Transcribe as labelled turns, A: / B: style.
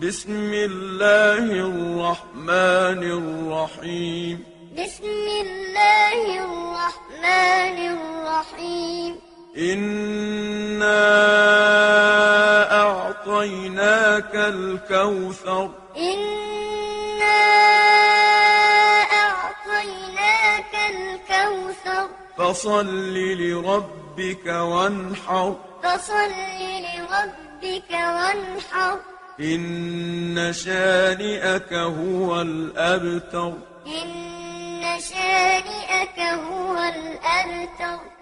A: بسم الله الرحمن الرحيم
B: بسم الله الرحمن الرحيم
A: إنا أعطيناك الكوثر
B: إنا أعطيناك الكوثر
A: فصل لربك وانحر
B: فصل لربك وانحر
A: إن شانئك هو الأبتر
B: إن شانئك هو الأبتر